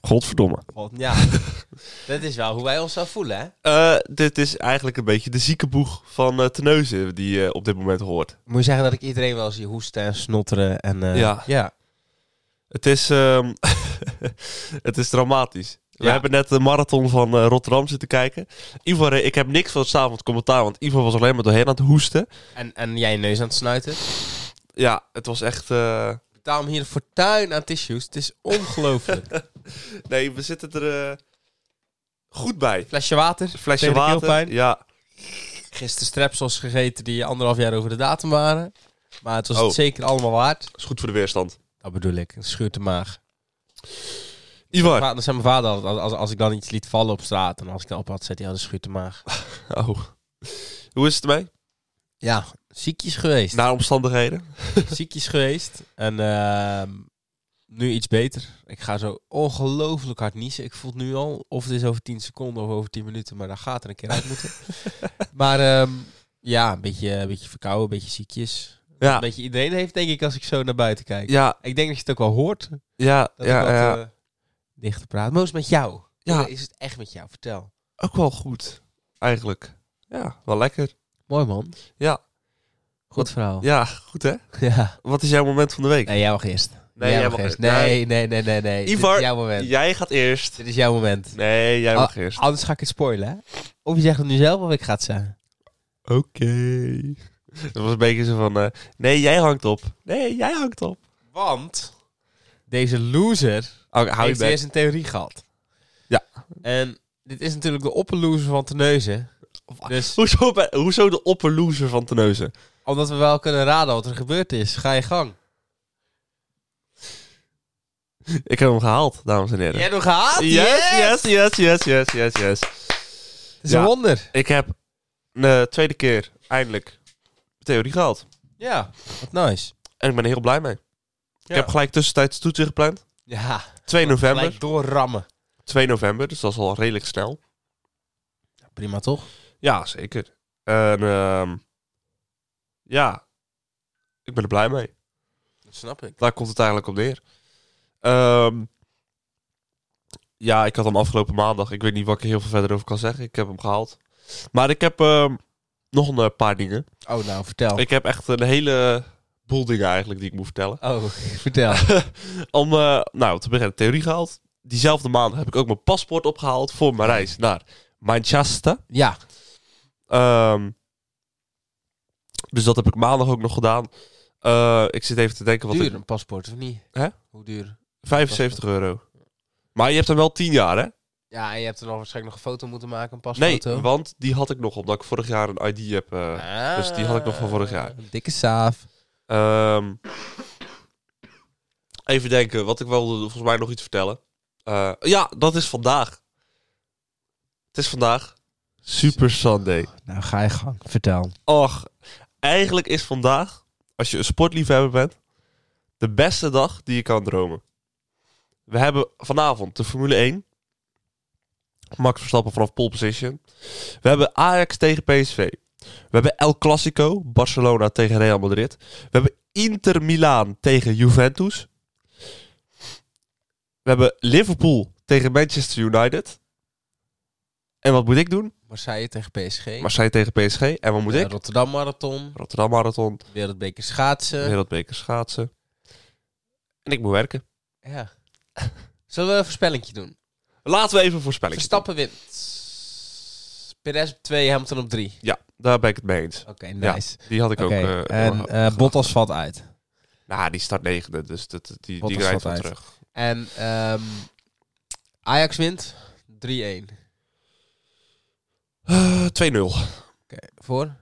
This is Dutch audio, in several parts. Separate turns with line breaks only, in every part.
Godverdomme.
God, ja. dat is wel hoe wij ons zo voelen, hè?
Eh, dit is eigenlijk een beetje de zieke boeg van eh Terneuzen die je op dit moment hoort.
Moet je zeggen dat ik iedereen wel zie hoesten en snotteren en... eh,
Ja.
ja.
Het is, ehm, het is dramatisch. We
Ja.
hebben net de marathon van eh, Rotterdam zitten kijken. Ivo, re- ik heb niks van het avond commentaar, want Ivo was alleen maar doorheen aan het hoesten.
En, en jij neus aan het snuiten.
Ja, het was echt... eh,
Betaal hem hier een fortuin aan tissues. Het is ongelooflijk.
Nee, we zitten er eh, goed bij.
Flesje water.
Flesje
tegen de
water.
keelpijn.
Ja,
Gisteren strepsels gegeten die anderhalf jaar over de datum waren. Maar het was
Oh.
het zeker allemaal waard.
is goed voor de weerstand.
Dat bedoel ik. Het schuurt de maag.
Ivar.
Maar, dat zei mijn vader altijd, als, als, als ik dan iets liet vallen op straat. En als ik dan op had, zei hij, oh, dat schuurt de maag.
Oh. Hoe is het ermee?
Ja, ziekjes geweest.
Naar omstandigheden.
ziekjes geweest. En ehm, nu iets beter. Ik ga zo ongelooflijk hard niezen. Ik voel het nu al. Of het is over 10 seconden of over 10 minuten. Maar daar gaat er een keer uit moeten. maar ehm, ja, een beetje, een beetje verkouden, een beetje ziekjes. Een
Ja,
beetje iedereen heeft, denk ik, als ik zo naar buiten kijk.
ja,
Ik denk dat je het ook wel hoort.
ja,
Dat ik
ja,
wat
ja.
eh, dichter praat. Maar hoe is het met jou?
Ja.
Is het echt met jou? Vertel.
Ook wel goed, eigenlijk. Ja, wel lekker.
Mooi man.
Ja.
Goed verhaal. Ja.
Ja, goed hè? Wat is jouw moment van de week?
Nee, jij mag eerst.
jij
mag
mag eerst.
eerst. Nee, nee, nee, nee, nee. Dit
Ivar,
is jouw moment.
Jij gaat eerst.
Dit is jouw moment.
Nee, jij mag eerst.
Anders ga ik het spoilen, hè? Of je zegt het nu zelf, of ik ga het zeggen.
Oké. Dat was een beetje zo van, eh, nee, jij hangt op. Nee, jij hangt op.
Want deze loser
Oh, hou je
heeft
bek.
eerst een theorie gehad.
Ja.
En dit is natuurlijk de opperloser van Teneuzen. Dus
Hoezo, bij- hoezo de opperloser van Tenneuzen?
omdat we wel kunnen raden wat er gebeurd is, ga je gang.
Ik heb hem gehaald, dames en heren.
Jij hebt hem gehaald?
Yes, yes, yes, yes, yes, yes, yes.
Het is een
Ja.
wonder.
Ik heb de tweede keer eindelijk theorie gehaald.
Ja, wat nice.
En ik ben er heel blij mee.
Ja.
Ik heb gelijk tussentijds toetsen gepland.
Ja,
2 november.
gelijk doorrammen.
2 november, dus dat is al redelijk snel.
Prima, toch?
Ja, zeker. En ehm, ja, ik ben er blij mee.
Dat snap ik.
Daar komt het eigenlijk op neer. Ehm, ja, ik had hem afgelopen maandag. Ik weet niet wat ik er heel veel verder over kan zeggen. Ik heb hem gehaald. Maar ik heb ehm, nog een eh, paar dingen.
Oh, nou, vertel.
Ik heb echt een hele boel dingen eigenlijk die ik moet vertellen.
Oh, vertel.
Om, eh, nou, te beginnen, theorie gehaald. Diezelfde maand heb ik ook mijn paspoort opgehaald voor mijn reis naar Manchester.
Ja,
Ehm, dus dat heb ik maandag ook nog gedaan. Eh, ik zit even te denken wat
duur
ik...
een paspoort, of niet?
Hè?
Hoe duur?
75 euro. Maar je hebt hem wel 10 jaar, hè?
Ja, en je hebt er nog waarschijnlijk nog een foto moeten maken, een
Nee,
pasfoto.
want die had ik nog, omdat ik vorig jaar een ID heb. eh, dus die had ik nog van vorig jaar.
Ah, Een dikke saaf.
Ehm, even denken, wat ik wilde volgens mij nog iets vertellen. Eh, ja, dat is vandaag. Het is vandaag Super Sunday.
Nou, ga je gang. Vertel.
Och, eigenlijk is vandaag, als je een sportliefhebber bent, de beste dag die je kan dromen. We hebben vanavond de Formule 1. Max Verstappen vanaf pole position. We hebben Ajax tegen PSV. We hebben El Clasico, Barcelona tegen Real Madrid. We hebben Inter Milaan tegen Juventus. We hebben Liverpool tegen Manchester United. En wat moet ik doen?
Marseille tegen PSG.
Marseille tegen PSG. En wat moet
Eh,
ik?
Rotterdam Marathon.
Rotterdam Marathon,
Wereldbeker
Eh.
schaatsen.
Wereldbeker schaatsen. En ik moet werken.
Ja. Zullen we een voorspellingje doen?
Laten we even voorspelling.
Verstappen wint. Perez op 2, Hamilton op 3.
Ja, daar ben ik het mee eens.
Oké, nice.
Die had ik
Oké,
ook. eh
en
doorge-
eh Bottas valt uit.
nou, die start negende, dus dat, dat- die, die
Bottas
rijdt
valt
wel
uit.
terug.
En ehm, Ajax wint 3-1. Oké,
Eh, 2-0.
voor? Oké.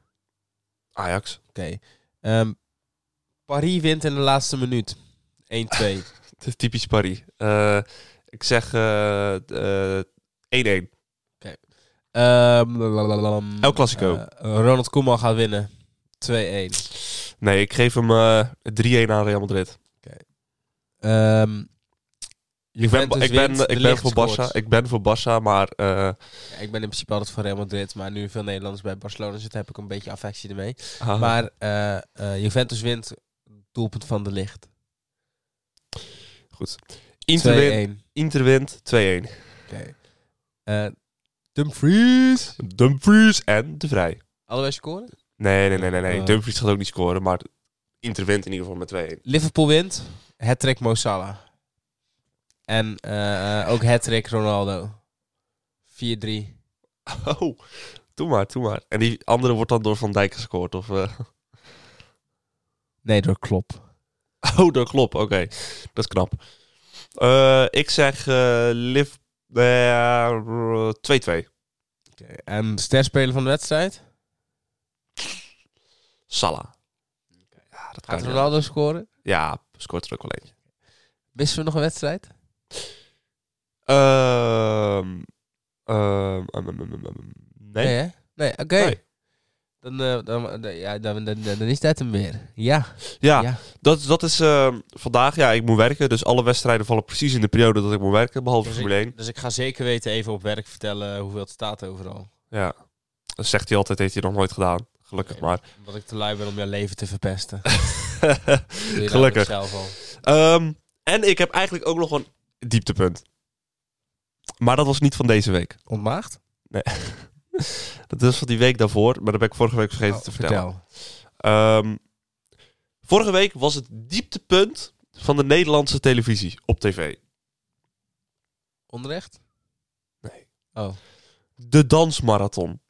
Ajax.
Ehm, Paris wint in de laatste minuut. 1-2.
Het is typisch Paris. Eh, ik zeg eh, eh, 1-1.
Ehm, lalalala.
El Clasico.
Eh, Ronald Koeman gaat winnen. 2-1.
nee, ik geef hem eh 3-1 aan Real Madrid.
Ehm
Ik ben,
Juventus
ik ben,
wint,
ik
De
ben
Ligt
voor
scoort.
Barça. Ik ben voor Barça, maar eh,
Ja, ik ben in principe altijd voor Real Madrid, maar nu veel Nederlanders bij Barcelona zitten, heb ik een beetje affectie ermee.
ah,
Maar eh, eh, Juventus wint, doelpunt van de licht.
goed. Inter, win- Inter wint 2-1.
Oké. Eh, Dumfries.
Dumfries en De Vrij.
Allebei scoren.
Nee, nee, nee, nee. nee.
Eh.
Dumfries gaat ook niet scoren, maar Inter wint in ieder geval met 2-1.
Liverpool wint. Hattrick Mo Salah. En eh, eh, ook hattrick Ronaldo. 4-3.
Oh, doe maar, doe maar. En die andere wordt dan door Van Dijk gescoord, of... eh?
Nee, door Klop.
Oh, dat klopt. Oké, dat is knap. Eh, ik zeg eh Liv... eh, 2-2.
En sterspeler van de wedstrijd.
Salah. Ja, dat kan
Gaat
niet
Ronaldo scoren?
anders. Ja, scoort er ook wel eentje.
Missen we nog een wedstrijd?
Ehm, ehm, ehm, ehm, ehm, ehm. nee.
hè? Nee, oké.
Nee.
Dan, eh, dan, dan- ja, dan, dan, dan is dat hem weer. Ja.
Ja,
Ja.
Dat, dat is ehm, vandaag. Ja, ik moet werken. Dus alle wedstrijden vallen precies in de periode dat ik moet werken. Behalve
Dus
Formule 1.
Dus ik ga zeker weten even op werk vertellen hoeveel het staat overal.
Ja. Dat zegt hij altijd. Heeft hij nog nooit gedaan. Gelukkig
Nee.
maar.
Omdat ik te lui ben om jouw leven te verpesten. Doe je dat
Gelukkig.
zelf al.
Ehm, en ik heb eigenlijk ook nog een dieptepunt. Maar dat was niet van deze week.
Ontmaagd?
Dat was van die week daarvoor. Maar dat ben ik vorige week vergeten
Oh,
te vertellen. Ehm, vorige week was het dieptepunt van de Nederlandse televisie op tv.
Onrecht?
Nee.
Oh.
De dansmarathon.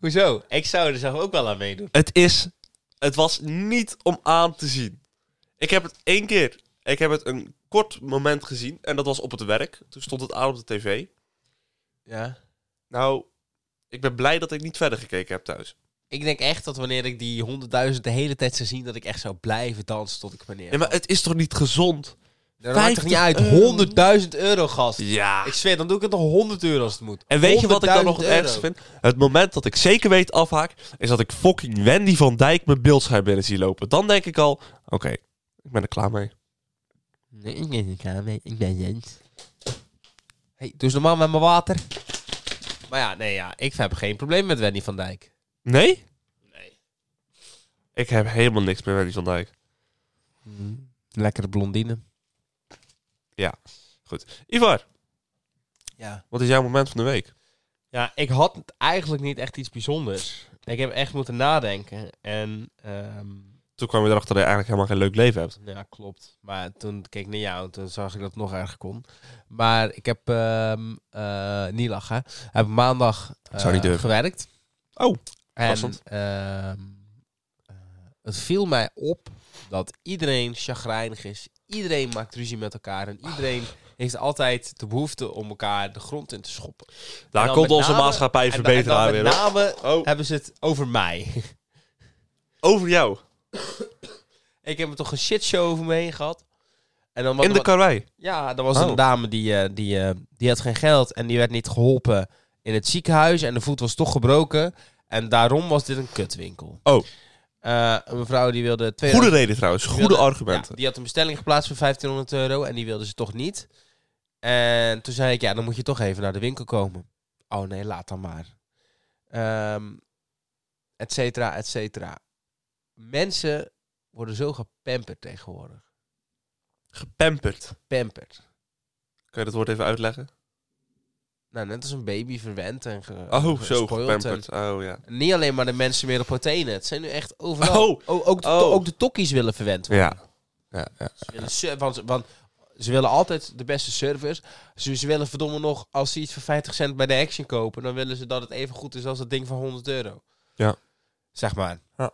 Hoezo? Ik zou er zelf ook wel aan meedoen.
Het is... Het was niet om aan te zien. Ik heb het één keer... Ik heb het een kort moment gezien. En dat was op het werk. Toen stond het aan op de tv.
Ja.
Nou, ik ben blij dat ik niet verder gekeken heb thuis.
Ik denk echt dat wanneer ik die honderdduizend de hele tijd zou zien, dat ik echt zou blijven dansen tot ik wanneer.
Nee, maar het is toch niet gezond?
dat maakt toch niet uit?
50 euro.
Honderdduizend euro, gast.
Ja.
Ik zweer, dan doe ik het nog 100 euro als het moet.
En weet je wat ik dan nog het
100.000
ergste vind? Het moment dat ik zeker weet afhaak, is dat ik fucking Wendy van Dijk mijn beeldscherm binnen zie lopen. Dan denk ik al, oké, ik ben er klaar mee.
Nee, ik ben niet klaar mee. Ik ben Jens. Hey, doe eens normaal met mijn water. Maar ja, nee, ja, ik heb geen probleem met Wendy van Dijk.
Nee?
Nee.
Ik heb helemaal niks met Wendy van Dijk.
Mm, Lekkere blondine.
Ivar,
Ja.
wat is jouw moment van de week?
Ja, ik had eigenlijk niet echt iets bijzonders. Ik heb echt moeten nadenken. En, ehm,
Toen kwam je erachter dat je eigenlijk helemaal geen leuk leven hebt.
ja, klopt. Maar toen keek ik naar jou en toen zag ik dat het nog erger kon. Maar ik heb, ehm, eh, niet lachen, heb maandag eh,
Zou niet durven.
gewerkt.
Oh,
En
passend.
ehm, eh, het viel mij op dat iedereen chagrijnig is. Iedereen maakt ruzie met elkaar. En iedereen heeft altijd de behoefte om elkaar de grond in te schoppen. En
Daar
dan
komt
met
onze
name-
maatschappij
en, da- en dan
verbeteraar
met
weer. hoor.
name
Oh,
hebben ze het over mij.
over jou.
ik heb er toch een shitshow over me heen gehad. En dan,
In de karwei.
Ja, er was
Oh.
een dame die, eh, die, eh, die had geen geld en die werd niet geholpen in het ziekenhuis. En de voet was toch gebroken. En daarom was dit een kutwinkel.
Oh.
Eh, een mevrouw die wilde... twee
Goede reden trouwens,
die
goede
wilde-
argumenten.
ja, die had een bestelling geplaatst voor 1500 euro en die wilde ze toch niet. En toen zei ik, ja, dan moet je toch even naar de winkel komen. Oh nee, laat dan maar. Ehm et cetera, et cetera. Mensen worden zo gepamperd tegenwoordig.
Gepamperd.
Gepamperd.
Kan je dat woord even uitleggen?
Nou, net als een baby verwend en ge
Oh, zo,
gespoild
gepamperd. Oh ja.
En niet alleen maar de mensen meer op proteïne. Het zijn nu echt overal.
Oh,
O- ook, de,
Oh.
to- ook de tokkies willen verwend worden.
Ja. ja, ja.
Ze willen ser- want, ze- want ze willen altijd de beste service. Ze, ze willen verdomme nog, als ze iets voor 50 cent bij de Action kopen... dan willen ze dat het even goed is als dat ding van 100 euro.
Ja.
Zeg maar.
Ja.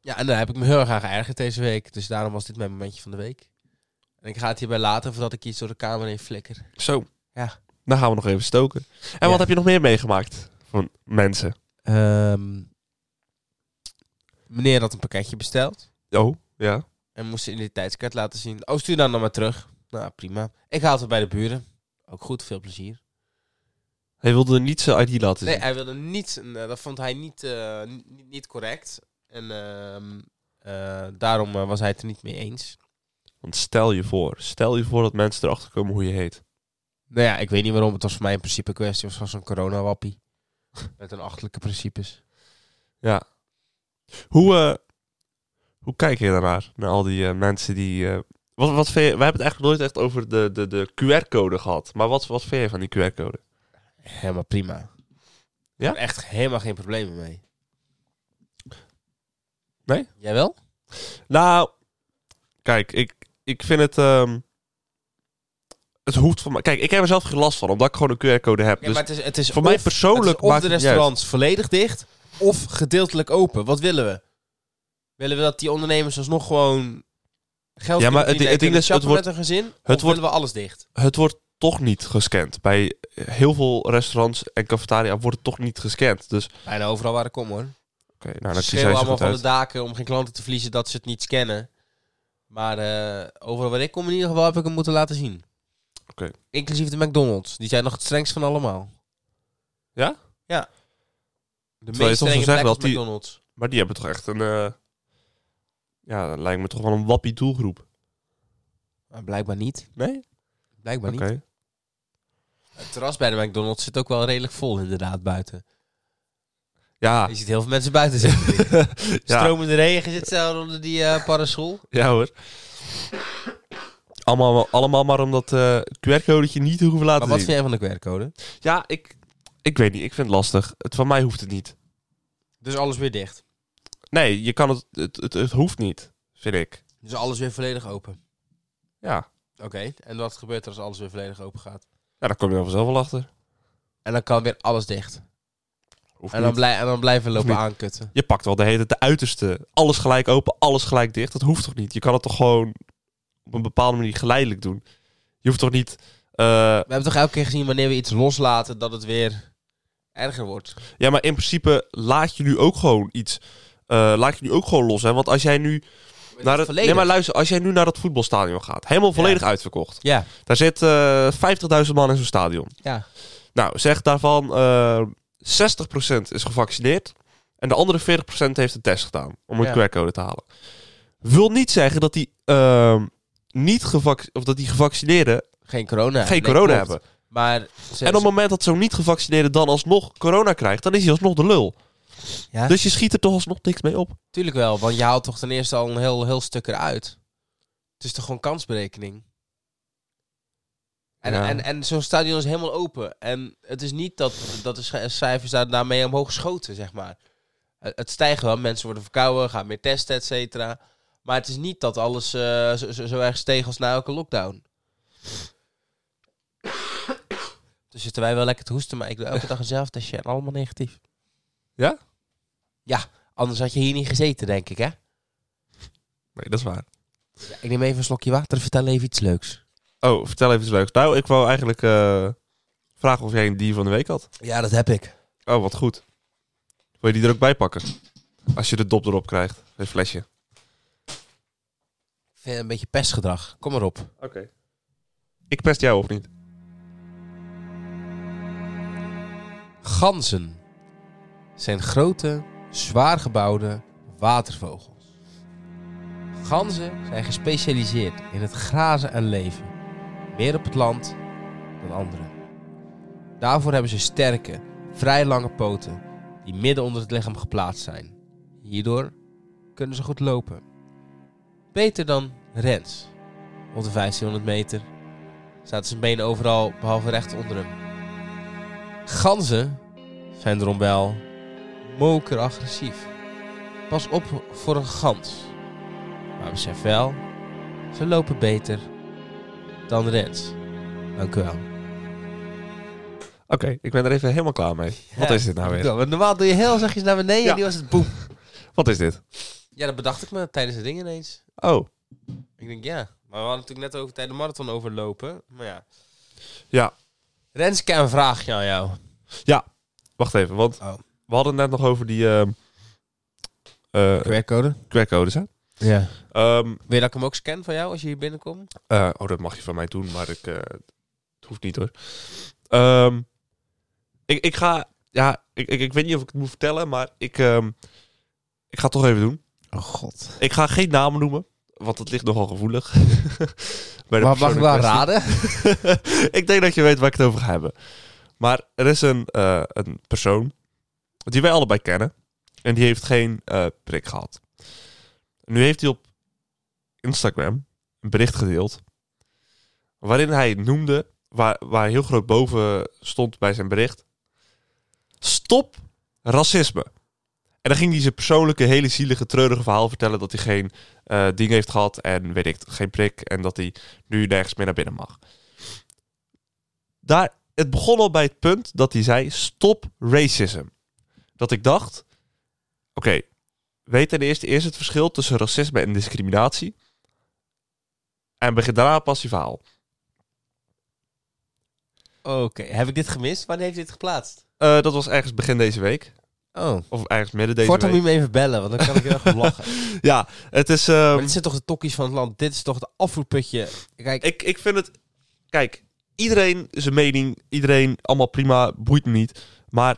Ja, en daar heb ik me heel erg aan geërgerd deze week. Dus daarom was dit mijn momentje van de week. En ik ga het hierbij laten voordat ik iets door de kamer heen flikker.
Zo.
Ja.
Dan gaan we nog even stoken. En
Ja.
wat heb je nog meer meegemaakt van mensen?
Ehm, meneer had een pakketje besteld.
Oh, ja.
En moest zijn identiteitskaart laten zien. Oh, stuur dan dan maar terug. Nou, prima. Ik haal het bij de buren. Ook goed, veel plezier.
Hij wilde niet zijn ID laten zien.
Nee, hij wilde niet. en, eh, dat vond hij niet, eh, ni- niet, niet correct. En ehm, eh, daarom eh, was hij het er niet mee eens.
Want stel je voor, stel je voor dat mensen erachter komen hoe je heet.
Nou ja, ik weet niet waarom. Het was voor mij in principe een kwestie. Het was gewoon zo'n coronawappie. Met een achterlijke principes.
Ja. Hoe, eh, hoe kijk je daarnaar? Naar al die eh, mensen die eh, Wat, wat vind je, we hebben het eigenlijk nooit echt over de, de, de QR-code gehad. Maar wat, wat vind je van die QR-code?
Helemaal prima. Ja? Ik heb echt helemaal geen problemen mee.
Nee?
Jij wel?
Nou, kijk, ik, ik vind het... ehm, het hoeft van mij... Kijk, ik heb er zelf geen last van, omdat ik gewoon een QR-code heb.
Ja,
dus
maar het is, het is
voor mij
of-
persoonlijk
het is of
maakt
de
het niet uit.
restaurants volledig dicht of gedeeltelijk open. Wat willen we? Willen we dat die ondernemers alsnog gewoon geld
Ja, maar
kunnen
het-
verdienen en
het ding
kunnen
is, het
shoppen met een gezin? Het
wordt-
willen we alles dicht?
het wordt toch niet gescand. Bij heel veel restaurants en cafetaria wordt het toch niet gescand. Dus, oké,
Bijna overal waar ik kom hoor.
nou,
Ze
dat kies
schreeuwen
jij zo
allemaal
goed
van
uit.
de daken om geen klanten te verliezen dat ze het niet scannen. Maar eh, overal waar ik kom in ieder geval heb ik hem moeten laten zien.
Oké.
Inclusief de McDonald's. Die zijn nog het strengst van allemaal.
Ja?
Ja. De
Terwijl je
meest
toch zou
strenge
zeggen
plek
dat
is
die-
McDonald's.
Maar die hebben toch echt een... eh, ja, dat lijkt me toch wel een wappie doelgroep.
Maar blijkbaar niet.
Nee?
Blijkbaar
Oké.
niet. Het terras bij de McDonald's zit ook wel redelijk vol inderdaad buiten.
Ja,
Je ziet heel veel mensen buiten zitten.
ja,
Stromende regen zit zelf onder die eh, parasol.
ja hoor. Allemaal, allemaal maar om dat eh, QR-codetje niet te hoeven laten
Maar
zien.
wat vind jij van de QR-code?
Ja, ik, ik weet niet. Ik vind het lastig. Het, van mij hoeft het niet.
Dus alles weer dicht.
Nee, je kan het, het, het, het hoeft niet, vind ik.
Dus alles weer volledig open.
Ja.
Oké. En wat gebeurt er als alles weer volledig open gaat?
ja, daar kom je dan vanzelf wel achter.
En dan kan weer alles dicht.
Hoeft
En
niet.
dan, blij, en dan blijven
Hoeft
lopen
niet.
aankutten.
Je pakt wel de hele tijd de uiterste. Alles gelijk open, alles gelijk dicht. Dat hoeft toch niet? Je kan het toch gewoon op een bepaalde manier geleidelijk doen? Je hoeft toch niet... eh,
We hebben toch elke keer gezien wanneer we iets loslaten dat het weer erger wordt.
ja, maar in principe laat je nu ook gewoon iets... eh, laat je nu ook gewoon los, hè? Want als jij nu... Naar het, nee,
verleden.
maar luister. Als jij nu naar dat voetbalstadion gaat... Helemaal volledig uitverkocht.
Ja,
Daar zit eh 50.000 man in zo'n stadion.
ja.
Nou, zeg daarvan eh 60% is gevaccineerd. En de andere 40% heeft een test gedaan om een
Ja.
QR-code te halen. Wil niet zeggen dat die, ehm, niet gevac- of dat die gevaccineerden
Geen corona.
geen
Nee,
corona
klopt.
hebben.
Maar ze-
En op het moment dat zo'n niet-gevaccineerde dan alsnog corona krijgt, dan is hij alsnog de lul.
Ja.
Dus je schiet er toch alsnog niks mee op.
Tuurlijk wel, want je haalt toch ten eerste al een heel, heel stuk eruit. Het is toch gewoon kansberekening? En,
Ja.
en, en zo'n stadion is helemaal open. En het is niet dat, dat de sch- cijfers daar, daarmee omhoog schoten, zeg maar. Het, het stijgt wel, mensen worden verkouden, gaan meer testen, et cetera. Maar het is niet dat alles eh, zo, zo, zo erg steeg als na elke lockdown. Dus zitten wij wel lekker te hoesten, maar ik doe elke dag een testje en allemaal negatief.
Ja?
Ja, anders had je hier niet gezeten, denk ik, hè?
Nee, dat is waar.
Ik neem even een slokje water, vertel even iets leuks.
Oh, vertel even iets leuks. Nou, ik wou eigenlijk eh, vragen of jij een dier van de week had.
Ja, dat heb ik.
Oh, wat goed. Wil je die er ook bij pakken? Als je de dop erop krijgt. Een flesje.
Ik vind het een beetje pestgedrag. Kom maar op.
Oké. Ik pest jou of niet?
Ganzen zijn grote, zwaar gebouwde watervogels. Ganzen zijn gespecialiseerd in het grazen en leven. Meer op het land dan anderen. Daarvoor hebben ze sterke, vrij lange poten die midden onder het lichaam geplaatst zijn. Hierdoor kunnen ze goed lopen. Beter dan Rens. Op de 1500 meter staat zijn benen overal behalve recht onder hem. Ganzen zijn erom wel moker agressief. Pas op voor een gans. Maar besef wel, ze lopen beter dan Rens. Dank u wel.
Oké, ik ben er even helemaal klaar mee. Wat
Ja.
is dit nou weer?
want normaal doe je heel zachtjes naar beneden
Ja.
en die was het boem.
Wat is dit?
Ja, dat bedacht ik me tijdens de ding ineens.
Oh,
Ik denk, ja. Maar we hadden natuurlijk net over tijdens de marathon overlopen. Maar ja.
ja.
Rens, ik heb een vraagje aan jou.
Wacht even, want
Oh.
we hadden het net nog over die ehm eh,
QR-code?
QR-codes, hè?
Ja.
Ehm,
Wil je dat ik hem ook scan van jou als je hier binnenkomt?
eh, oh, dat mag je van mij doen, maar ik, eh, het hoeft niet hoor. Ehm, ik, ik ga... Ja, ik, ik, ik weet niet of ik het moet vertellen, maar ik, ehm, ik ga het toch even doen.
Oh god.
Ik ga geen namen noemen, want dat ligt nogal gevoelig. Bij de
Maar mag
persoon
ik
in
wel
kwestie.
raden?
ik denk dat je weet waar ik het over ga hebben. Maar er is een, eh, een persoon die wij allebei kennen. En die heeft geen eh, prik gehad. Nu heeft hij op Instagram een bericht gedeeld. Waarin hij noemde, waar, waar heel groot boven stond bij zijn bericht. Stop racisme. En dan ging hij zijn persoonlijke, hele zielige, treurige verhaal vertellen dat hij geen eh, ding heeft gehad en weet ik, het, geen prik. En dat hij nu nergens meer naar binnen mag. Daar, het begon al bij het punt dat hij zei stop racism. Dat ik dacht, oké, weet ten eerste eerst het verschil tussen racisme en discriminatie. En begin daarna pas je verhaal.
Oké, heb ik dit gemist? Wanneer heeft dit geplaatst?
Eh, dat was ergens begin deze week.
Oh.
Of ergens midden deze
Voortaan moet
week.
je me even bellen, want dan kan ik heel erg om lachen.
Ja, het is... ehm,
Maar dit zijn toch de tokkies van het land? Dit is toch het afvoerputje? Kijk,
ik, ik vind het... Kijk, iedereen zijn mening, iedereen allemaal prima, boeit me niet. Maar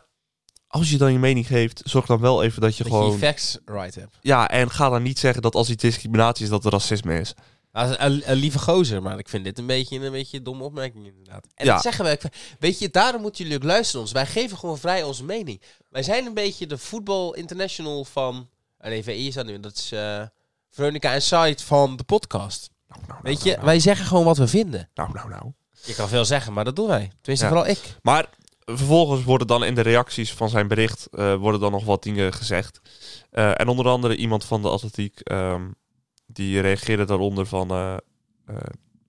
als je dan je mening geeft, zorg dan wel even dat je
dat je
gewoon...
je facts right hebt.
ja, en ga dan niet zeggen dat als iets discriminatie is, dat het racisme is.
Nou, dat is een, een lieve gozer, maar ik vind dit een beetje een, beetje een domme opmerking inderdaad. En
Ja.
dat zeggen wij. ik- Weet je, daarom moeten jullie ook luisteren ons. Wij geven gewoon vrij onze mening. Wij zijn een beetje de voetbal international van... En even is dat nu, dat is eh, Veronica en Side van de podcast.
Nou, nou, nou,
Weet
nou,
je, wij zeggen gewoon wat we vinden.
Nou, nou, nou.
Je kan veel zeggen, maar dat doen wij. Tenminste,
Ja.
vooral ik.
Maar vervolgens worden dan in de reacties van zijn bericht eh, worden dan nog wat dingen gezegd. Eh, en onder andere iemand van de atletiek ehm, die reageerde daaronder van, eh, eh,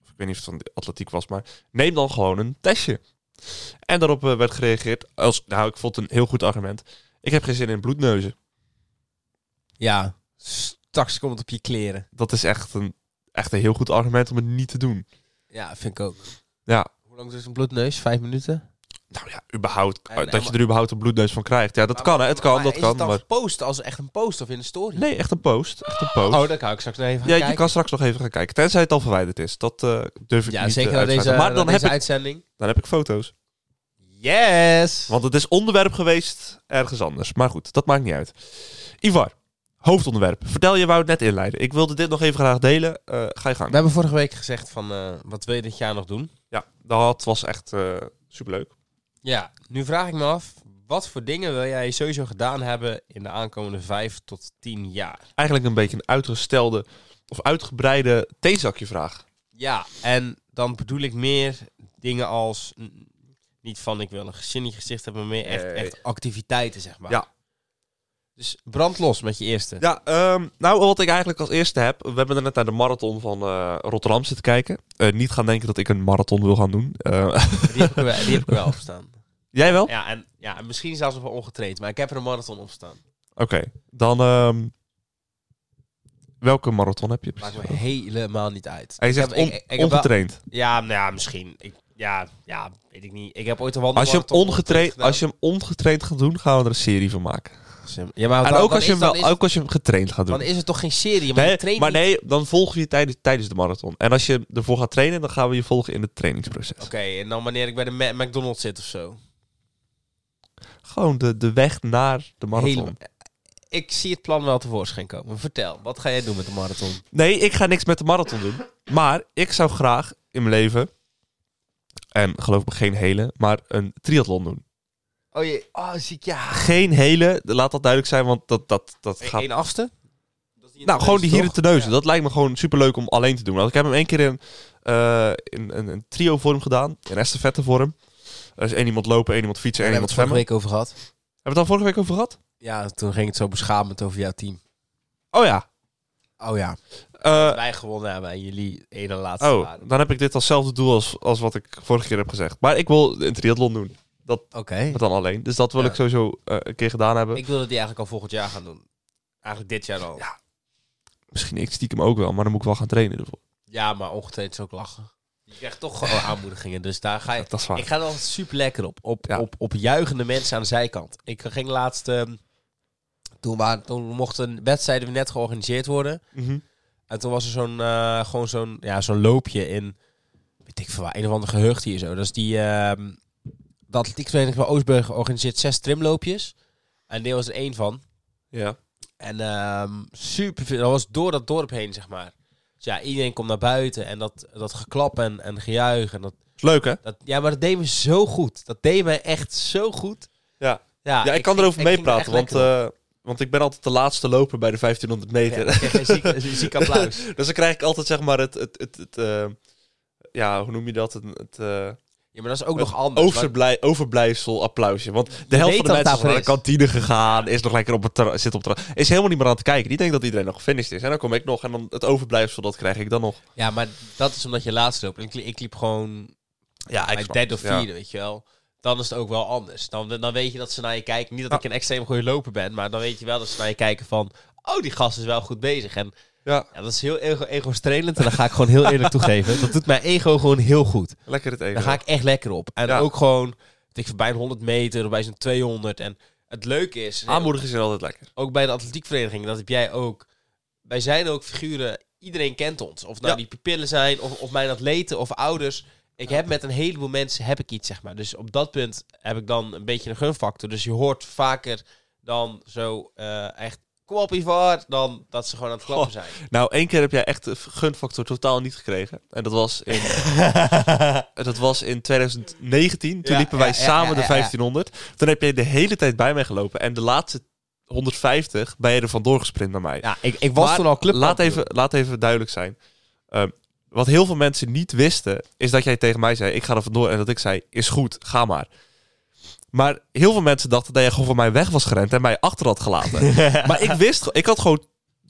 ik weet niet of het van de atletiek was, maar neem dan gewoon een testje. En daarop eh, werd gereageerd als, nou ik vond het een heel goed argument. Ik heb geen zin in bloedneuzen.
Ja, straks komt het op je kleren.
Dat is echt een, echt een heel goed argument om het niet te doen.
Ja, vind ik ook.
Ja,
Hoe lang is een bloedneus? Vijf minuten?
nou ja, überhaupt,
En- en
dat je
maar-
er überhaupt een bloedneus van krijgt. Ja, dat kan hè, het kan, dat
is
kan.
het dan
Maar...
gepost als echt een post of in een story?
Nee, echt een post, echt een post.
Oh, daar kan ik straks nog even gaan
Ja, je
kijken.
kan straks nog even gaan kijken. Tenzij het al verwijderd is. Dat eh, durf ik
ja,
niet
zeker
eh,
na
uit te
deze,
zeggen. Maar dan,
na deze
heb ik,
uitzending.
dan heb ik foto's.
Yes!
Want het is onderwerp geweest ergens anders. Maar goed, dat maakt niet uit. Ivar, hoofdonderwerp. Vertel je wou het net inleiden. Ik wilde dit nog even graag delen. Eh, ga je gang.
We hebben vorige week gezegd van, eh, wat wil je dit jaar nog doen?
Ja, dat was echt eh, superleuk.
Ja, nu vraag ik me af, wat voor dingen wil jij sowieso gedaan hebben in de aankomende vijf tot tien jaar?
Eigenlijk een beetje een uitgestelde of uitgebreide theezakje vraag.
Ja, en dan bedoel ik meer dingen als, mm, niet van ik wil een gezin in je gezicht hebben, maar meer echt,
Nee.
echt activiteiten, zeg maar.
Ja.
Dus brand los met je eerste.
Ja, ehm, nou wat ik eigenlijk als eerste heb. We hebben net naar de marathon van eh, Rotterdam zitten kijken. Eh, niet gaan denken dat ik een marathon wil gaan doen. Eh,
Die, heb ik, er wel- die heb ik er wel op staan.
jij wel?
Ja, en ja, en misschien zelfs nog wel ongetraind, maar ik heb er een marathon op staan.
Oké, dan ehm, welke marathon heb je
Maakt
precies?
me helemaal niet uit.
Hij
Ik
zegt
heb- ik-
on-
ik- ik heb wel-
ongetraind.
Ja, nou ja, misschien. Ik, ja, ja, weet ik niet. Ik heb ooit een
Als je, hem
wandelmarathon
ongetraind,
gedaan.
als je hem ongetraind gaat doen, gaan we er een serie van maken.
Ja, maar
En
dan-
ook
dan
als, je hem
is-
wel,
dan is-
ook als je hem getraind gaat
Dan
doen.
is het toch geen serie, maar je
Nee,
traint
maar
niet.
nee, dan volgen we je tijdens, tijdens de marathon. En als je ervoor gaat trainen, dan gaan we je volgen in het trainingsproces.
Oké, en dan wanneer ik bij de Ma- McDonald's zit of zo.
Gewoon de, de weg naar de marathon.
Helemaal- Ik zie het plan wel tevoorschijn komen. Vertel, wat ga jij doen met de marathon?
Nee, ik ga niks met de marathon doen. Maar ik zou graag in mijn leven, en geloof me geen hele, maar een triathlon doen.
Oh, je, oh ziek, ja.
Geen hele, laat dat duidelijk zijn, want dat, dat, dat gaat
Eén afste? Dat is niet
Nou,
een
gewoon die
race,
hier te
toch?
neuzen.
Ja.
Dat lijkt me gewoon superleuk om alleen te doen. Want ik heb hem één keer in, eh, in, in een trio-vorm gedaan. In estafette-vorm. Er is één iemand lopen, één iemand fietsen,
Daar
één
hebben we
iemand
het vorige
zwemmen.
week over gehad.
Hebben we het al vorige week over gehad?
Ja, toen ging het zo beschamend over jouw team.
Oh ja.
Oh ja.
Eh,
Wij gewonnen hebben en jullie ene laatste
oh,
waren.
dan heb ik dit alszelfde doel als, als wat ik vorige keer heb gezegd. Maar ik wil een triathlon doen.
Oké.
Maar dan alleen. Dus dat wil
Ja.
ik sowieso eh, een keer gedaan hebben.
Ik wilde die eigenlijk al volgend jaar gaan doen. Eigenlijk dit jaar al.
Ja.
Ja,
Misschien ik stiekem ook wel, maar dan moet ik wel gaan trainen ervoor.
maar ongetraind is ook lachen. Je krijgt toch gewoon aanmoedigingen. Dus daar ga je...
Dat is waar.
Ik ga er altijd super lekker op. Op,
Ja.
op. op juichende mensen aan de zijkant. Ik ging laatst... ehm, toen, waren, toen mochten wedstrijden weer net georganiseerd worden.
Mhm.
En toen was er zo'n... eh, gewoon zo'n... Ja, zo'n loopje in... Weet ik veel waar. Een of ander geheugd hier zo. Dat is die... ehm de atletiekvereniging van Oostburg organiseert zes trimloopjes. En dit was er één van.
Ja.
En ehm super veel. Dat was door dat dorp heen, zeg maar. Dus ja, iedereen komt naar buiten en dat, dat geklap en, en gejuich. En dat,
Is Leuk hè?
dat, ja, maar dat deed me zo goed. Dat deed me echt zo goed.
Ja.
ja,
ja, ik, kan
ging-
erover
ik ging er
meepraten,
echt
want,
lekker op.
eh, Want ik ben altijd de laatste loper bij de 1500 meter.
Ja, ik krijg een ziek, een ziek applaus.
dus dan krijg ik altijd zeg maar het... het, het, het eh, ja, hoe noem je dat? Het, het eh,
Ja, maar dat is ook
Het
nog anders. want-
overblij, overblijfsel applausje. Want de helft van de
weet dat
mensen is
daarvoor
naar de
is.
kantine gegaan. Is nog lekker op het terras- zit op het terras. Is helemaal niet meer aan het kijken. Die denkt dat iedereen nog gefinished is. En dan kom ik nog. En dan het overblijfsel, dat krijg ik dan nog.
Ja, maar dat is omdat je laatst loopt. Ik, li- ik liep gewoon
Ja,
mijn derde of vierde, weet je wel. Dan is het ook wel anders. Dan, dan weet je dat ze naar je kijken. Niet dat ik een extreem goede loper ben, maar dan weet je wel dat ze naar je kijken van... Oh, die gast is wel goed bezig. En
Ja,
ja, dat is heel ego- ego-strelend. en dat ga ik gewoon heel eerlijk toegeven. Dat doet mijn ego gewoon heel goed.
lekker het eten.
Daar ga ik echt lekker op. En
Ja.
ook gewoon, weet ik, veel, bij een 100 meter of bij zo'n 200. En het leuke is,
Aanmoedigen zijn altijd lekker.
ook bij de atletiekvereniging, dat heb jij ook. Wij zijn ook figuren, iedereen kent ons. Of nou
Ja.
die pupillen zijn, of, of mijn atleten, of ouders. Ik heb met een heleboel mensen heb ik iets, zeg maar. Dus op dat punt heb ik dan een beetje een gunfactor. Dus je hoort vaker dan zo eh, echt, kom op Ivar, dan dat ze gewoon aan het klappen
Goh.
zijn.
Nou, één keer heb jij echt de gunfactor totaal niet gekregen. En dat was in, dat was in 2019. Toen
Ja,
liepen wij
ja, ja,
samen
ja,
de
ja, ja.
1500. Toen heb jij de hele tijd bij mij gelopen. En de laatste 150 ben je er vandoor gesprint naar mij.
Ja, ik, ik was
Maar
toen al club.
Laat even, laat even duidelijk zijn. Ehm, wat heel veel mensen niet wisten, is dat jij tegen mij zei: Ik ga er vandoor. En dat ik zei: Is goed, ga maar. Maar heel veel mensen dachten dat jij gewoon van mij weg was gerend en mij achter had gelaten. maar ik wist, ik had gewoon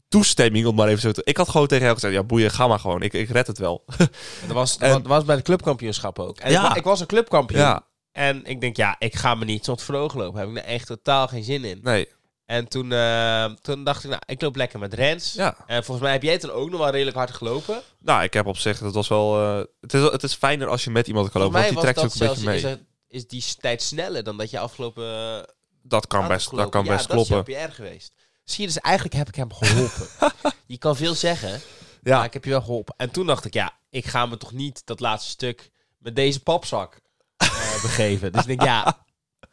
toestemming, om maar even zo te. Ik had gewoon tegen jou gezegd: Ja, boeien, ga maar gewoon. Ik, ik red het wel.
Dat was,
En-
dat was bij de clubkampioenschap ook. En
Ja.
ik, wa- ik was een clubkampioen.
Ja,
En ik denk, ja, ik ga me niet tot voor de ogen lopen. Heb ik er echt totaal geen zin in.
nee.
En toen, eh, toen dacht ik, nou, ik loop lekker met Rens.
Ja.
En volgens mij heb jij toen ook nog wel redelijk hard gelopen.
Nou, ik heb op zich, dat was wel. eh, het, is, het is fijner als je met iemand kan
Volgens
lopen,
mij
want die trekt ook een beetje mee.
is, het- is die tijd sneller dan dat je afgelopen... eh,
Dat kan
had
best, dat
gelopen.
kan
ja,
best
dat
kloppen.
is jouw PR geweest. Zie je, dus eigenlijk heb ik hem geholpen. je kan veel zeggen,
Ja.
maar ik heb je wel geholpen. En toen dacht ik, ja, ik ga me toch niet dat laatste stuk met deze papzak eh, begeven. Dus ik denk, ja,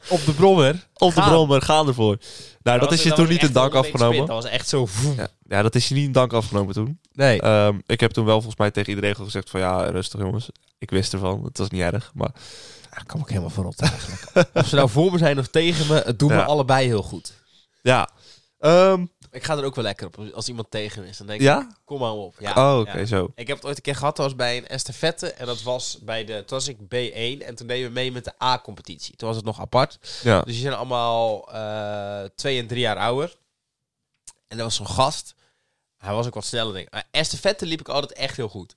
op de brommer.
Op de
Gaan.
brommer, ga ervoor. Nou, dat
was-
is je toen
was
niet in
echt
dank
100 meter
afgenomen.
sprint. Dat was echt zo... voem.
Ja, ja, dat is je niet in dank afgenomen toen.
Nee.
Ehm, ik heb toen wel volgens mij tegen iedereen gewoon gezegd van ja, rustig jongens. Ik wist ervan, het was niet erg. Maar
Ah, Ik kan me ook helemaal voorop eigenlijk. of ze nou voor me zijn of tegen me, het doet
Ja.
me allebei heel goed.
ja. Ehm,
Ik ga er ook wel lekker op als iemand tegen me is. Dan denk ik,
ja?
kom maar op. Ja,
Oh, oké,
ja.
zo.
Ik heb het ooit een keer gehad, dat was bij een estafette. En dat was bij de, toen was ik B1 en toen deden we mee met de A-competitie. Toen was het nog apart.
Ja.
Dus die zijn allemaal eh, twee en drie jaar ouder. En er was zo'n gast. Hij was ook wat sneller, denk ik. Maar estafette liep ik altijd echt heel goed.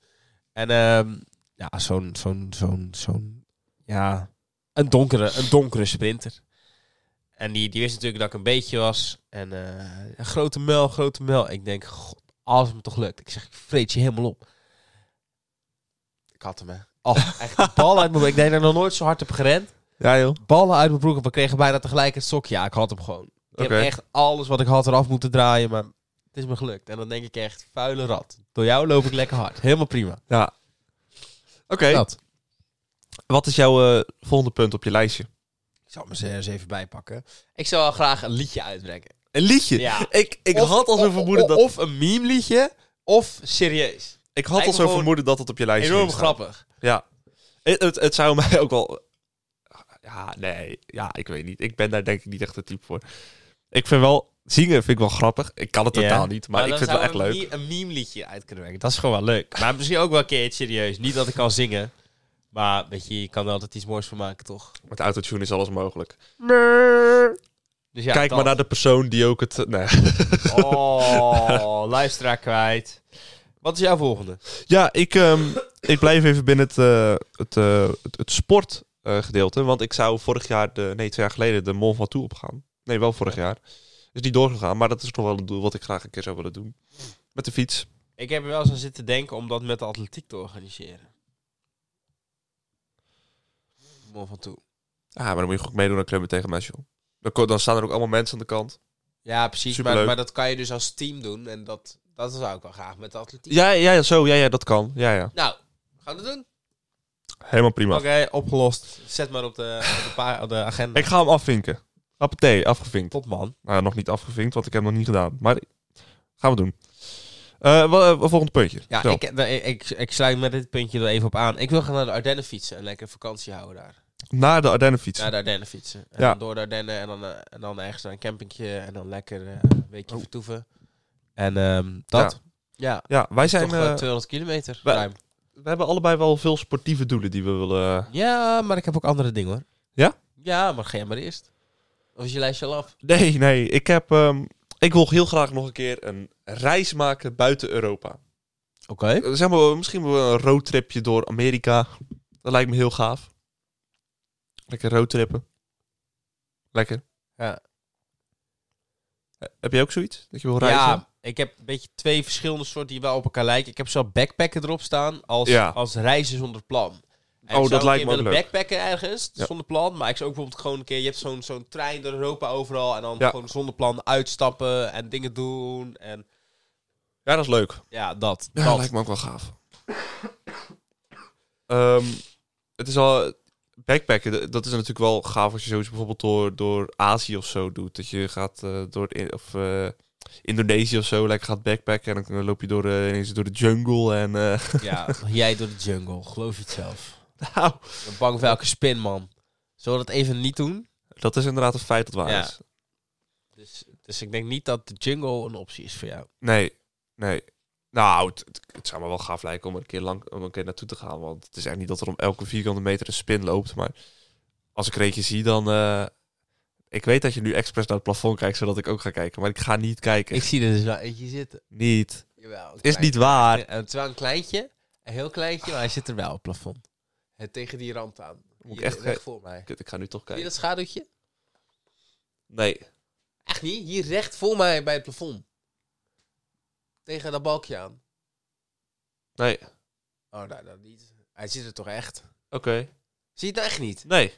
En ehm, ja, zo'n, zo'n, zo'n, zo'n, ja, een donkere, een donkere sprinter. En die, die wist natuurlijk dat ik een beetje was. En eh, een grote muil, grote muil. Ik denk, god, als het me toch lukt. Ik zeg, ik vreet je helemaal op. Ik had hem, hè. Oh, echt de bal uit mijn broek. Ik denk dat ik nog nooit zo hard heb gerend
Ja joh.
ballen uit mijn broek. En we kregen bijna tegelijk het sokje. Ja, ik had hem gewoon. Ik
Oké.
heb echt alles wat ik had eraf moeten draaien. Maar het is me gelukt. En dan denk ik echt, vuile rat. Door jou loop ik lekker hard. Helemaal prima.
Ja. Oké,
Dat.
wat is jouw eh, volgende punt op je lijstje?
Ik zal het me eens even bijpakken. Ik zou wel graag een liedje uitbrengen.
Een liedje.
Ja.
Ik, ik
Of-
had al zo'n
of-
vermoeden
of-
dat
Of een meme liedje, of serieus.
ik had al
lijkt me
zo'n
gewoon
vermoeden dat het op je lijstje
Enorm
ging staan.
grappig.
Ja. Eh, Het, het, het zou mij ook wel. Ja, nee. Ja, ik weet niet. Ik ben daar denk ik niet echt het type voor. Ik vind wel. Zingen vind ik wel grappig. Ik kan het
Ja. Nou,
totaal niet, maar, ik
dan
vind het wel echt
zouden we
leuk.
een meme- Een meme liedje uit kunnen brengen. Dat is gewoon wel leuk. Maar misschien ook wel een keer iets serieus. Niet dat ik kan zingen. Maar weet je, je kan er altijd iets moois van maken, toch?
Met autotune is alles mogelijk.
Dus ja,
Kijk
dat.
maar naar de persoon die ook het... Nee.
Oh, luisteraar kwijt. Wat is jouw volgende?
Ja, ik, ehm, ik blijf even binnen het, eh, het, eh, het, het sportgedeelte. want ik zou vorig jaar, de, nee, twee jaar geleden, de Mont Ventoux opgaan. Nee, wel vorig jaar. Is niet doorgegaan, maar dat is nog wel een doel wat ik graag een keer zou willen doen. Met de fiets.
Ik heb er wel eens aan zitten denken om dat met de atletiek te organiseren. Mol van toe.
Ah, maar dan moet je goed meedoen aan klemmen tegen mensen, joh. Dan, ko- dan staan er ook allemaal mensen aan de kant.
Ja, precies. Maar,
Superleuk.
maar dat kan je dus als team doen. En dat, dat zou ik wel graag met de atletiek.
Ja, ja, zo. Ja, ja, dat kan. Ja, ja.
Nou, gaan we dat doen?
Helemaal prima.
Oké, opgelost. Zet maar op de, op de, pa- op de agenda.
Ik ga hem afvinken. Appetee, afgevinkt.
Top man.
Nou, ja, nog niet afgevinkt, want ik heb hem nog niet gedaan. Maar gaan we doen. Eh, wel, eh, volgend puntje.
Ja,
Zo.
ik, ik, ik, ik sluit met dit puntje er even op aan. Ik wil gaan naar de Ardennen fietsen en lekker vakantie houden daar.
Naar de Ardennen fietsen.
Naar de Ardennen fietsen. En
Ja.
dan door de Ardennen en dan, eh, en dan ergens naar een campingje en dan lekker eh, een weekje
Oh.
vertoeven. En ehm, dat. Ja,
Ja, wij
zijn
zijn...
toch eh,
eh,
200 kilometer
wij-
ruim.
we hebben allebei wel veel sportieve doelen die we willen... eh,
Ja, maar ik heb ook andere dingen hoor.
Ja?
Ja, maar ga jij maar eerst. Of is je lijstje al af?
Nee, nee. Ik, heb, ehm, ik wil heel graag nog een keer een reis maken buiten Europa.
Oké.
Eh, Zeg maar, misschien wel een roadtripje door Amerika. Dat lijkt me heel gaaf. Lekker roadtrippen. Lekker.
Ja.
Eh, Heb je ook zoiets? Dat je wil reizen?
Ja, ik heb een beetje twee verschillende soorten die wel op elkaar lijken. Ik heb zowel backpacken erop staan als,
Ja.
als reizen zonder plan. En
Oh,
ik zou
dat lijkt
een keer
me ook
willen
leuk.
backpacken ergens,
Ja.
zonder plan. Maar ik zou ook bijvoorbeeld gewoon een keer... Je hebt zo'n zo'n trein door Europa overal. En dan
Ja.
gewoon zonder plan uitstappen en dingen doen. En
Ja, dat is leuk.
ja, dat.
Ja,
dat.
lijkt me ook wel gaaf. Ehm, het is al... Backpacken, d- dat is natuurlijk wel gaaf als je zoiets bijvoorbeeld door, door Azië of zo doet. Dat je gaat eh, door in, of, eh, Indonesië of zo lekker gaat backpacken. En dan eh, loop je door, eh, ineens door de jungle en... eh,
Ja, jij door de jungle. Geloof je het zelf.
nou,
Ik ben bang voor elke spin, man. Zullen we dat even niet doen?
dat is inderdaad een feit dat waar
Ja.
is.
Dus, dus ik denk niet dat de jungle een optie is voor jou.
Nee, nee. Nou, het, het- het zou me wel gaaf lijken om er een keer lang om er een keer naartoe te gaan. Want het is echt niet dat er om elke vierkante meter een spin loopt. Maar als ik er eentje zie, dan. eh, ik weet dat je nu expres naar het plafond kijkt, zodat ik ook ga kijken. Maar ik ga niet kijken.
Ik zie er dus wel eentje zitten.
Niet.
Jawel, een
Is niet waar.
Ja, en het is wel een kleintje, een heel kleintje, maar hij zit er wel op het plafond. En tegen die rand aan.
Moet ik
Hier,
echt
recht
ge-
voor mij.
Kut, ik ga nu toch
Zie je
kijken.
dat schaduwtje?
Nee.
Echt niet? Hier recht voor mij bij het plafond. Tegen dat balkje aan.
Nee. Oké.
Oh, nou, dat niet. Hij zit er toch echt? Zie je het nou echt niet?
Nee.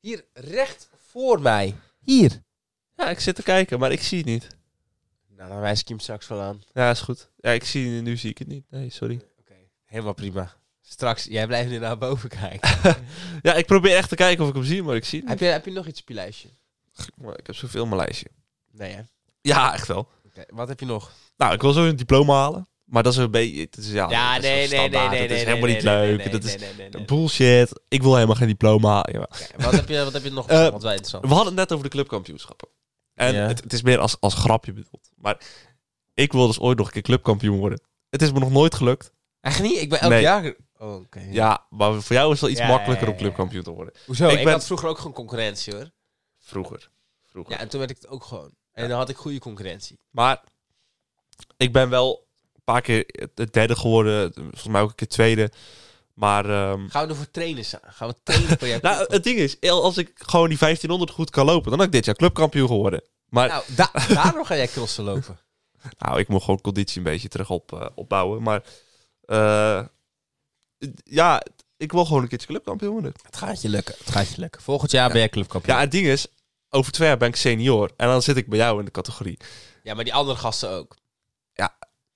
Hier recht voor mij. Hier.
Ja, ik zit te kijken, maar ik zie het niet.
Nou, dan wijs ik je hem straks wel aan.
Ja, is goed. Ja, ik zie nu zie ik het niet. Nee, sorry.
Oké, helemaal prima. Straks, jij blijft nu naar boven kijken.
Ja, ik probeer echt te kijken of ik hem zie, maar ik zie het
heb,
niet.
je, heb je nog iets op je lijstje?
Maar Ik heb zoveel in mijn lijstje.
Nee, hè?
Ja, echt wel.
Oké, Wat heb je nog?
Nou, ik wil zo een diploma halen. Maar dat is een beetje... Het is, ja, dat is zo standaard. Dat is helemaal niet leuk. dat is bullshit. Ik wil helemaal geen diploma. halen. Jawel.
Wat heb je, wat heb je nog?
Eh,
wat wij interessant.
We hadden het net over de clubkampioenschappen. En
Ja.
het, het is meer als, als grapje bedoeld. Maar ik wil dus ooit nog een keer clubkampioen worden. Het is me nog nooit gelukt.
Echt niet? Ik ben elk
Nee.
jaar... Oh, oké.
Ja, maar voor jou is het wel iets
Ja,
makkelijker
ja,
om
ja, ja.
clubkampioen te worden.
Hoezo?
Ik
Ik,
ben-
had vroeger ook gewoon concurrentie, hoor.
Vroeger. Vroeger.
Ja, en toen werd ik het ook gewoon. En dan had ik goede concurrentie.
Maar ik ben wel een paar keer het derde geworden. Volgens mij ook een keer tweede. Maar ehm,
Gaan we ervoor trainen samen? Gaan we trainen voor jou?
Nou, het ding is, als ik gewoon die 1500 goed kan lopen, dan had ik dit jaar clubkampioen geworden. Maar nou,
Nou, da daarom ga jij crossen lopen.
ik moet gewoon conditie een beetje terug op, eh, opbouwen. Maar eh, het- ja, het- ik wil gewoon een keertje clubkampioen worden.
Het gaat je lukken. Het gaat je lukken. Volgend jaar ben jij clubkampioen.
Ja,
Ja,
het ding is, over twee jaar ben ik senior en dan zit ik bij jou in de categorie.
maar die andere gasten ook.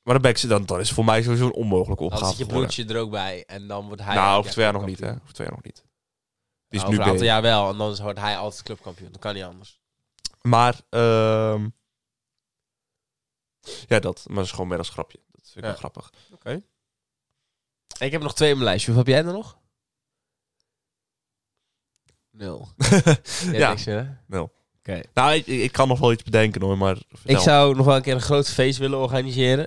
Maar dan, ben ik, dan, dan is het voor mij sowieso een onmogelijke
Dan
opgave.
zit je
geworden.
broertje er ook bij. En dan wordt hij...
nou, over
altijd
twee jaar nog niet, hè?
clubkampioen.
Over twee jaar nog niet. Die is
Nou, over een
nu
aantal
B.
jaar wel. En dan wordt hij altijd clubkampioen. Dat kan niet anders.
Maar, ehm, ja, dat. Maar dat is gewoon meer als grapje. Dat vind ik
Ja.
wel grappig.
Ik heb nog twee op mijn lijstje. Hoeveel heb jij er nog? Nul. Jij
Ja.
niks, hè?
Nul.
Oké.
Nou, ik, ik ik kan nog wel iets bedenken hoor, maar vertel.
Ik zou nog wel een keer een groot feest willen organiseren.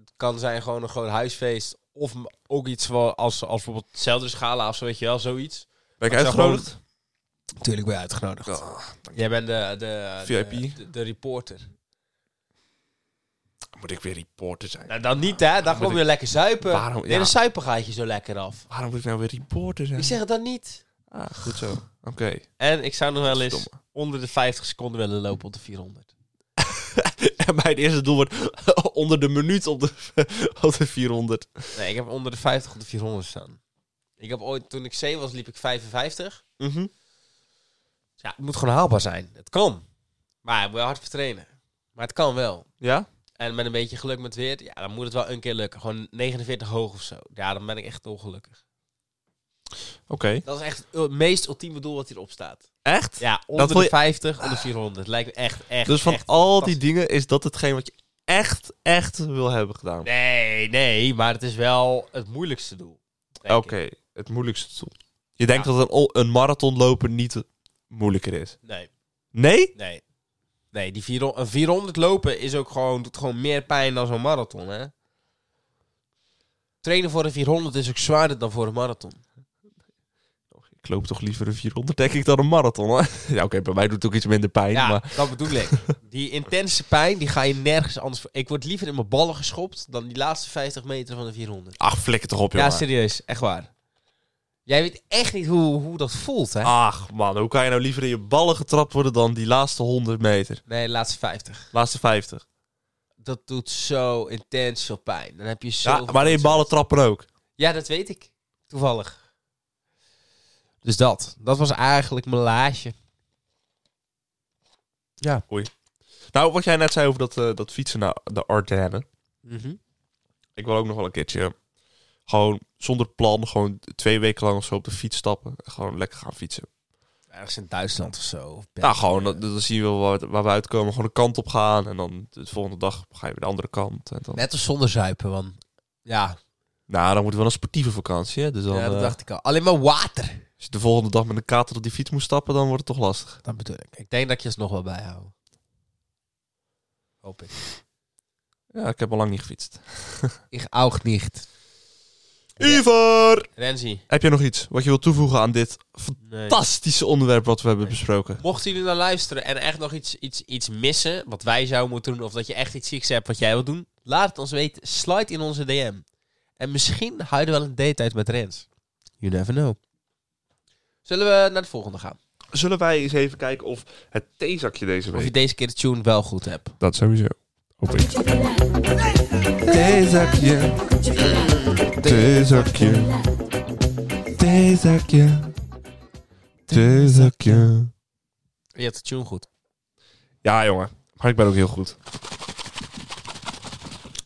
Het kan zijn gewoon een groot huisfeest. Of m- ook iets wel als, als bijvoorbeeld hetzelfde schala of zo, weet je wel, zoiets.
ben ik
ik zou
uitgenodigd?
Natuurlijk ben je uitgenodigd.
Ah,
Jij bent de, de,
VIP.
de, de, de reporter.
dan moet ik weer reporter zijn?
Nou, dan niet, hè? Dan
moet
kom je lekker zuipen.
Waarom-
Nee,
ja.
dan zuipen gaat je zo lekker af.
Waarom moet ik nou weer reporter zijn?
Ik zeg het dan niet.
Ah, goed zo. Oké.
En ik zou nog wel eens
Verdomme.
onder de 50 seconden willen lopen op de 400.
En mijn eerste doel wordt onder de minuut op de, op de 400.
Nee, ik heb onder de 50 of de 400 staan. Ik heb ooit, toen ik C was, liep ik 55.
Mhm.
Dus Ja, het moet gewoon haalbaar zijn. Het kan. Maar je moet wel hard voor trainen. Maar het kan wel.
Ja?
En met een beetje geluk met weer, ja, dan moet het wel een keer lukken. Gewoon 49 hoog of zo. Ja, dan ben ik echt ongelukkig.
Oké.
Dat is echt het ul- meest ultieme doel wat hierop staat.
Echt?
Ja, onder
wil
de
je-
50, onder 400. Lijkt me echt, echt,
dus van
echt
al die
fantastisch.
dingen is dat hetgeen wat je echt, echt wil hebben gedaan.
Nee, nee, maar het is wel het moeilijkste doel. denk
Oké,
ik.
het moeilijkste doel. Je denkt dat een, o- een marathonloper niet moeilijker is.
Nee,
Nee?
nee. Nee, die 400, een 400 lopen is ook gewoon, doet gewoon meer pijn dan zo'n marathon, hè? Trainen voor een 400 is ook zwaarder dan voor een marathon.
Ik loop toch liever een 400, denk ik, dan een marathon. Hè? Ja, oké, bij mij doet het ook iets minder pijn.
ja,
Maar
dat bedoel ik. Die intense pijn, die ga je nergens anders voor. Ik word liever in mijn ballen geschopt dan die laatste 50 meter van de 400.
ach, flikker toch op,
Ja,
jongen.
serieus. Echt waar. Jij weet echt niet hoe, hoe dat voelt, hè?
Ach man, hoe kan je nou liever in je ballen getrapt worden dan die laatste 100 meter?
Nee, de laatste 50.
Laatste 50.
Dat doet zo intens veel pijn. Dan heb je zo...
Ja, maar in je ballen trappen ook.
Ja, dat weet ik. Toevallig. Dus dat. Dat was eigenlijk mijn laasje.
Ja. Oei. Nou, wat jij net zei over dat, eh, dat fietsen naar de Ardennen.
Mhm.
Ik wil ook nog wel een keertje eh, gewoon zonder plan, gewoon twee weken lang of zo op de fiets stappen. En gewoon lekker gaan fietsen.
Ergens in Duitsland of zo. Of
Nou, gewoon, dan, dan zien we wel waar, waar we uitkomen. Gewoon de kant op gaan. En dan de volgende dag ga je weer de andere kant. En dan,
Net als zonder zuipen, want... Ja,
nou, dan moeten we wel een sportieve vakantie. Hè? Dus dan,
ja, dat
eh,
dacht ik al. Alleen maar water.
als je de volgende dag met een kater op die fiets moet stappen, dan wordt het toch lastig.
Dat bedoel ik. Ik denk dat ik je het nog wel bijhoud. Hoop ik.
Ja, ik heb al lang niet gefietst.
Ik ook niet. Ja.
Ivar!
Renzi.
Heb jij nog iets wat je wilt toevoegen aan dit fantastische onderwerp wat we hebben besproken?
Mochten jullie nou luisteren en echt nog iets, iets, iets missen, wat wij zouden moeten doen, of dat je echt iets zieks hebt wat jij wilt doen, laat het ons weten. Slide in onze DM. En misschien houden we wel een date uit met Rens. You never know. Zullen we naar de volgende gaan?
Zullen wij eens even kijken of het theezakje deze
Of je deze keer de tune wel goed hebt.
Dat sowieso. Hoop ik. Theezakje. Theezakje. Theezakje.
Je hebt de tune goed.
Ja, jongen. Maar ik ben ook heel goed.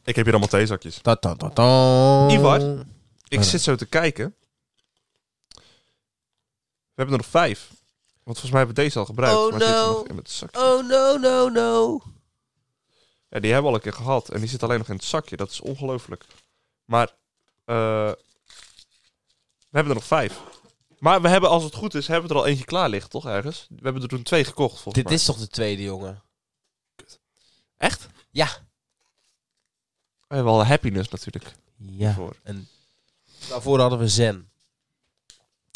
Ik heb hier allemaal theezakjes.
Ta -ta -ta -ta.
Ivar? Ik
Ja.
zit zo te kijken. We hebben er nog vijf. Want volgens mij hebben we deze al gebruikt.
Oh,
maar zitten
no.
nog in het zakje.
Oh no, no, no.
Ja, die hebben we al een keer gehad. En die zit alleen nog in het zakje. Dat is ongelooflijk. Maar eh, we hebben er nog vijf. Maar we hebben, als het goed is, hebben we er al eentje klaar liggen, toch ergens? We hebben er toen twee gekocht, volgens
Dit
mij.
is toch de tweede, jongen?
Echt?
Ja.
We hebben al happiness natuurlijk.
Ja.
Voor.
En daarvoor hadden we Zen.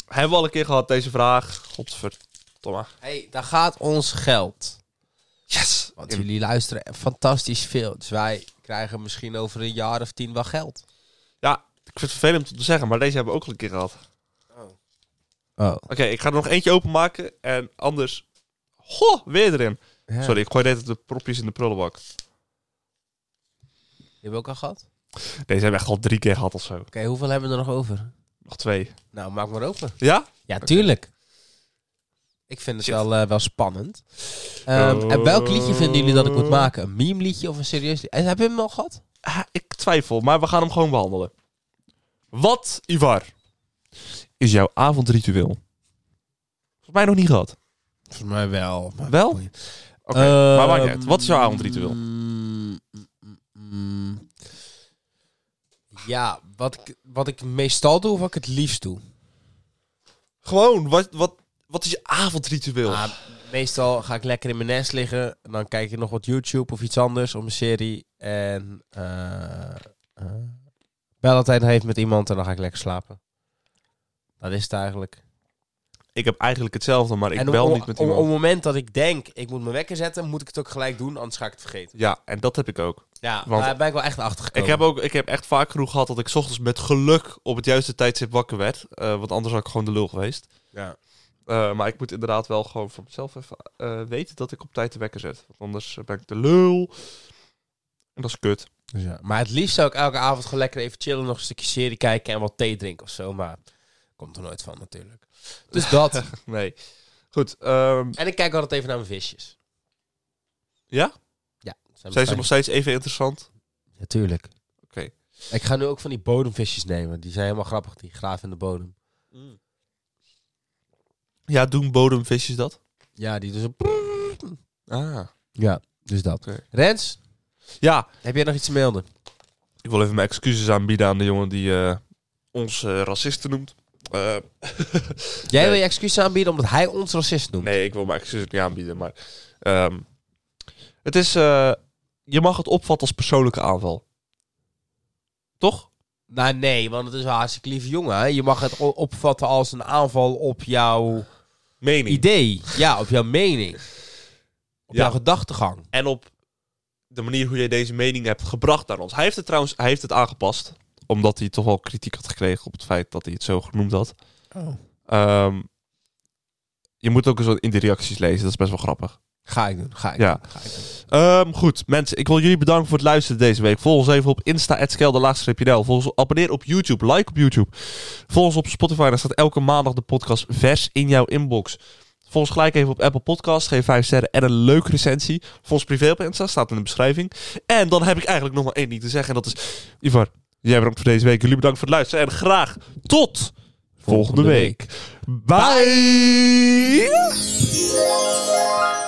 Hebben we al een keer gehad, deze vraag. Godverdomme.
hey, daar gaat ons geld.
Yes!
Want
In-
jullie luisteren fantastisch veel. Dus wij krijgen misschien over een jaar of tien wel geld.
Ik vind het vervelend om te zeggen, maar deze hebben we ook al een keer gehad. Oké,
Oh.
ik ga er nog eentje openmaken. En anders... Goh, weer erin. Sorry, ik gooi net de propjes in de prullenbak.
Die hebben we ook al gehad? Oké,
Deze hebben we echt al drie keer gehad of zo.
hoeveel hebben we er nog over?
Nog twee.
Nou, maak maar open.
Ja?
Ja, tuurlijk. Ik vind het
Shit.
wel, eh, wel spannend. Ehm, en welk liedje vinden jullie dat ik moet maken? Een meme liedje of een serieus liedje? Eh, Heb je hem al gehad?
Ah, Ik twijfel, maar we gaan hem gewoon behandelen. Wat, Ivar, is jouw avondritueel? Volgens mij nog niet gehad.
Volgens mij wel.
Wel? Oké, maar maakt niet uit. Wat is jouw
Ehm,
avondritueel?
mm, mm, mm. Ja, wat ik, wat ik meestal doe of wat ik het liefst doe.
Gewoon, wat, wat, wat is je avondritueel?
Ah, meestal ga ik lekker in mijn nest liggen. En dan kijk ik nog wat YouTube of iets anders om een serie. En eh eh, bel altijd nog even met iemand en dan ga ik lekker slapen. Dat is het eigenlijk.
ik heb eigenlijk hetzelfde, maar ik
en
bel
om,
niet met
om-
iemand.
Op het moment dat ik denk, ik moet mijn wekker zetten, moet ik het ook gelijk doen, anders ga ik het vergeten.
Ja, en dat heb ik ook.
Ja,
Want-
daar ben ik wel echt achter gekomen.
Ik heb, ook, ik heb echt vaak genoeg gehad dat ik 's ochtends met geluk op het juiste tijdstip wakker werd. eh, want anders had ik gewoon de lul geweest.
Ja.
Eh, maar ik moet inderdaad wel gewoon voor mezelf even eh, weten dat ik op tijd de wekker zet. Want anders eh, ben ik de lul. En dat is kut.
Dus ja. Maar het liefst zou ik elke avond gewoon lekker even chillen, nog een stukje serie kijken en wat thee drinken of zo. Maar komt er nooit van natuurlijk. Dus dat.
Nee. Goed. ehm,
en ik kijk altijd even naar mijn visjes.
Ja?
Ja. dat
zijn
mijn
ze
vijf-
nog steeds even interessant?
Ja, tuurlijk.
Oké.
Ik ga nu ook van die bodemvisjes nemen. Die zijn helemaal grappig. Die graven in de bodem.
Ja, doen bodemvisjes dat?
Ja, die dus een...
Ah.
Ja, dus dat.
Oké.
Rens,
Ja,
heb jij nog iets te melden?
ik wil even mijn excuses aanbieden aan de jongen die eh, ons eh, racisten noemt. Eh,
Jij
Nee.
wil je excuses aanbieden omdat hij ons racist noemt.
nee, ik wil mijn excuses niet aanbieden, maar... ehm, het is... eh, je mag het opvatten als persoonlijke aanval. Toch?
Nou nee, want het is een hartstikke lieve jongen. hè. Je mag het o- opvatten als een aanval op jouw
Mening.
idee. Ja, op jouw mening. Op
Ja.
jouw gedachtegang.
en op de manier hoe jij deze mening hebt gebracht aan ons. Hij heeft het trouwens hij heeft het aangepast. Omdat hij toch wel kritiek had gekregen op het feit dat hij het zo genoemd had. Ehm, je moet ook eens wat in de reacties lezen. Dat is best wel grappig.
Ga ik doen, ga ik
Ja.
doen. Ga ik doen.
Ehm, goed, mensen. Ik wil jullie bedanken voor het luisteren deze week. Volg ons even op Insta, @skelderlaagstreepje.nl. Volg ons, abonneer op YouTube, like op YouTube. Volg ons op Spotify. Daar staat elke maandag de podcast vers in jouw inbox. Volg ons gelijk even op Apple Podcast. Geef 5 sterren en een leuke recensie. Volg ons privé op Insta, staat in de beschrijving. En dan heb ik eigenlijk nog maar één ding te zeggen. En dat is, Ivar, jij bedankt voor deze week. Jullie bedankt voor het luisteren. En graag tot volgende,
Volgende
week. Bye.